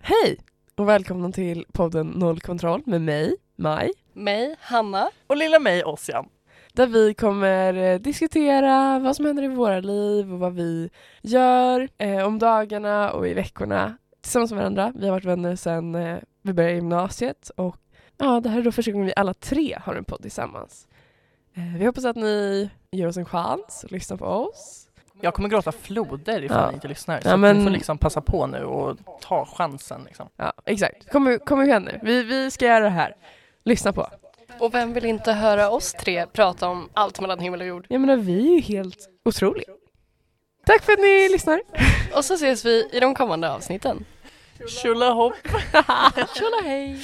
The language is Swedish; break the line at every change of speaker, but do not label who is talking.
Hej och välkomna till podden Noll kontroll med mig, Maj,
Mig, Hanna.
Och lilla mig, Ossian.
där vi kommer eh, diskutera vad som händer i våra liv och vad vi gör eh, om dagarna och i veckorna tillsammans med varandra. Vi har varit vänner sedan eh, vi började gymnasiet och ja, det här är då första gången vi alla tre har en podd tillsammans. Eh, vi hoppas att ni ger oss en chans och lyssnar på oss.
Jag kommer gråta floder ifall
Ja.
ni inte lyssnar. Så
Ja,
att
men-
ni får liksom passa på nu och ta chansen. Liksom.
Ja, exakt. Kom, kom igen nu. Vi, vi ska göra det här. Lyssna på.
Och vem vill inte höra oss tre prata om allt mellan himmel och jord?
Jag menar, vi är ju helt otroliga. Tack för att ni lyssnar.
Och så ses vi i de kommande avsnitten.
Tjolahopp!
Tjola hej!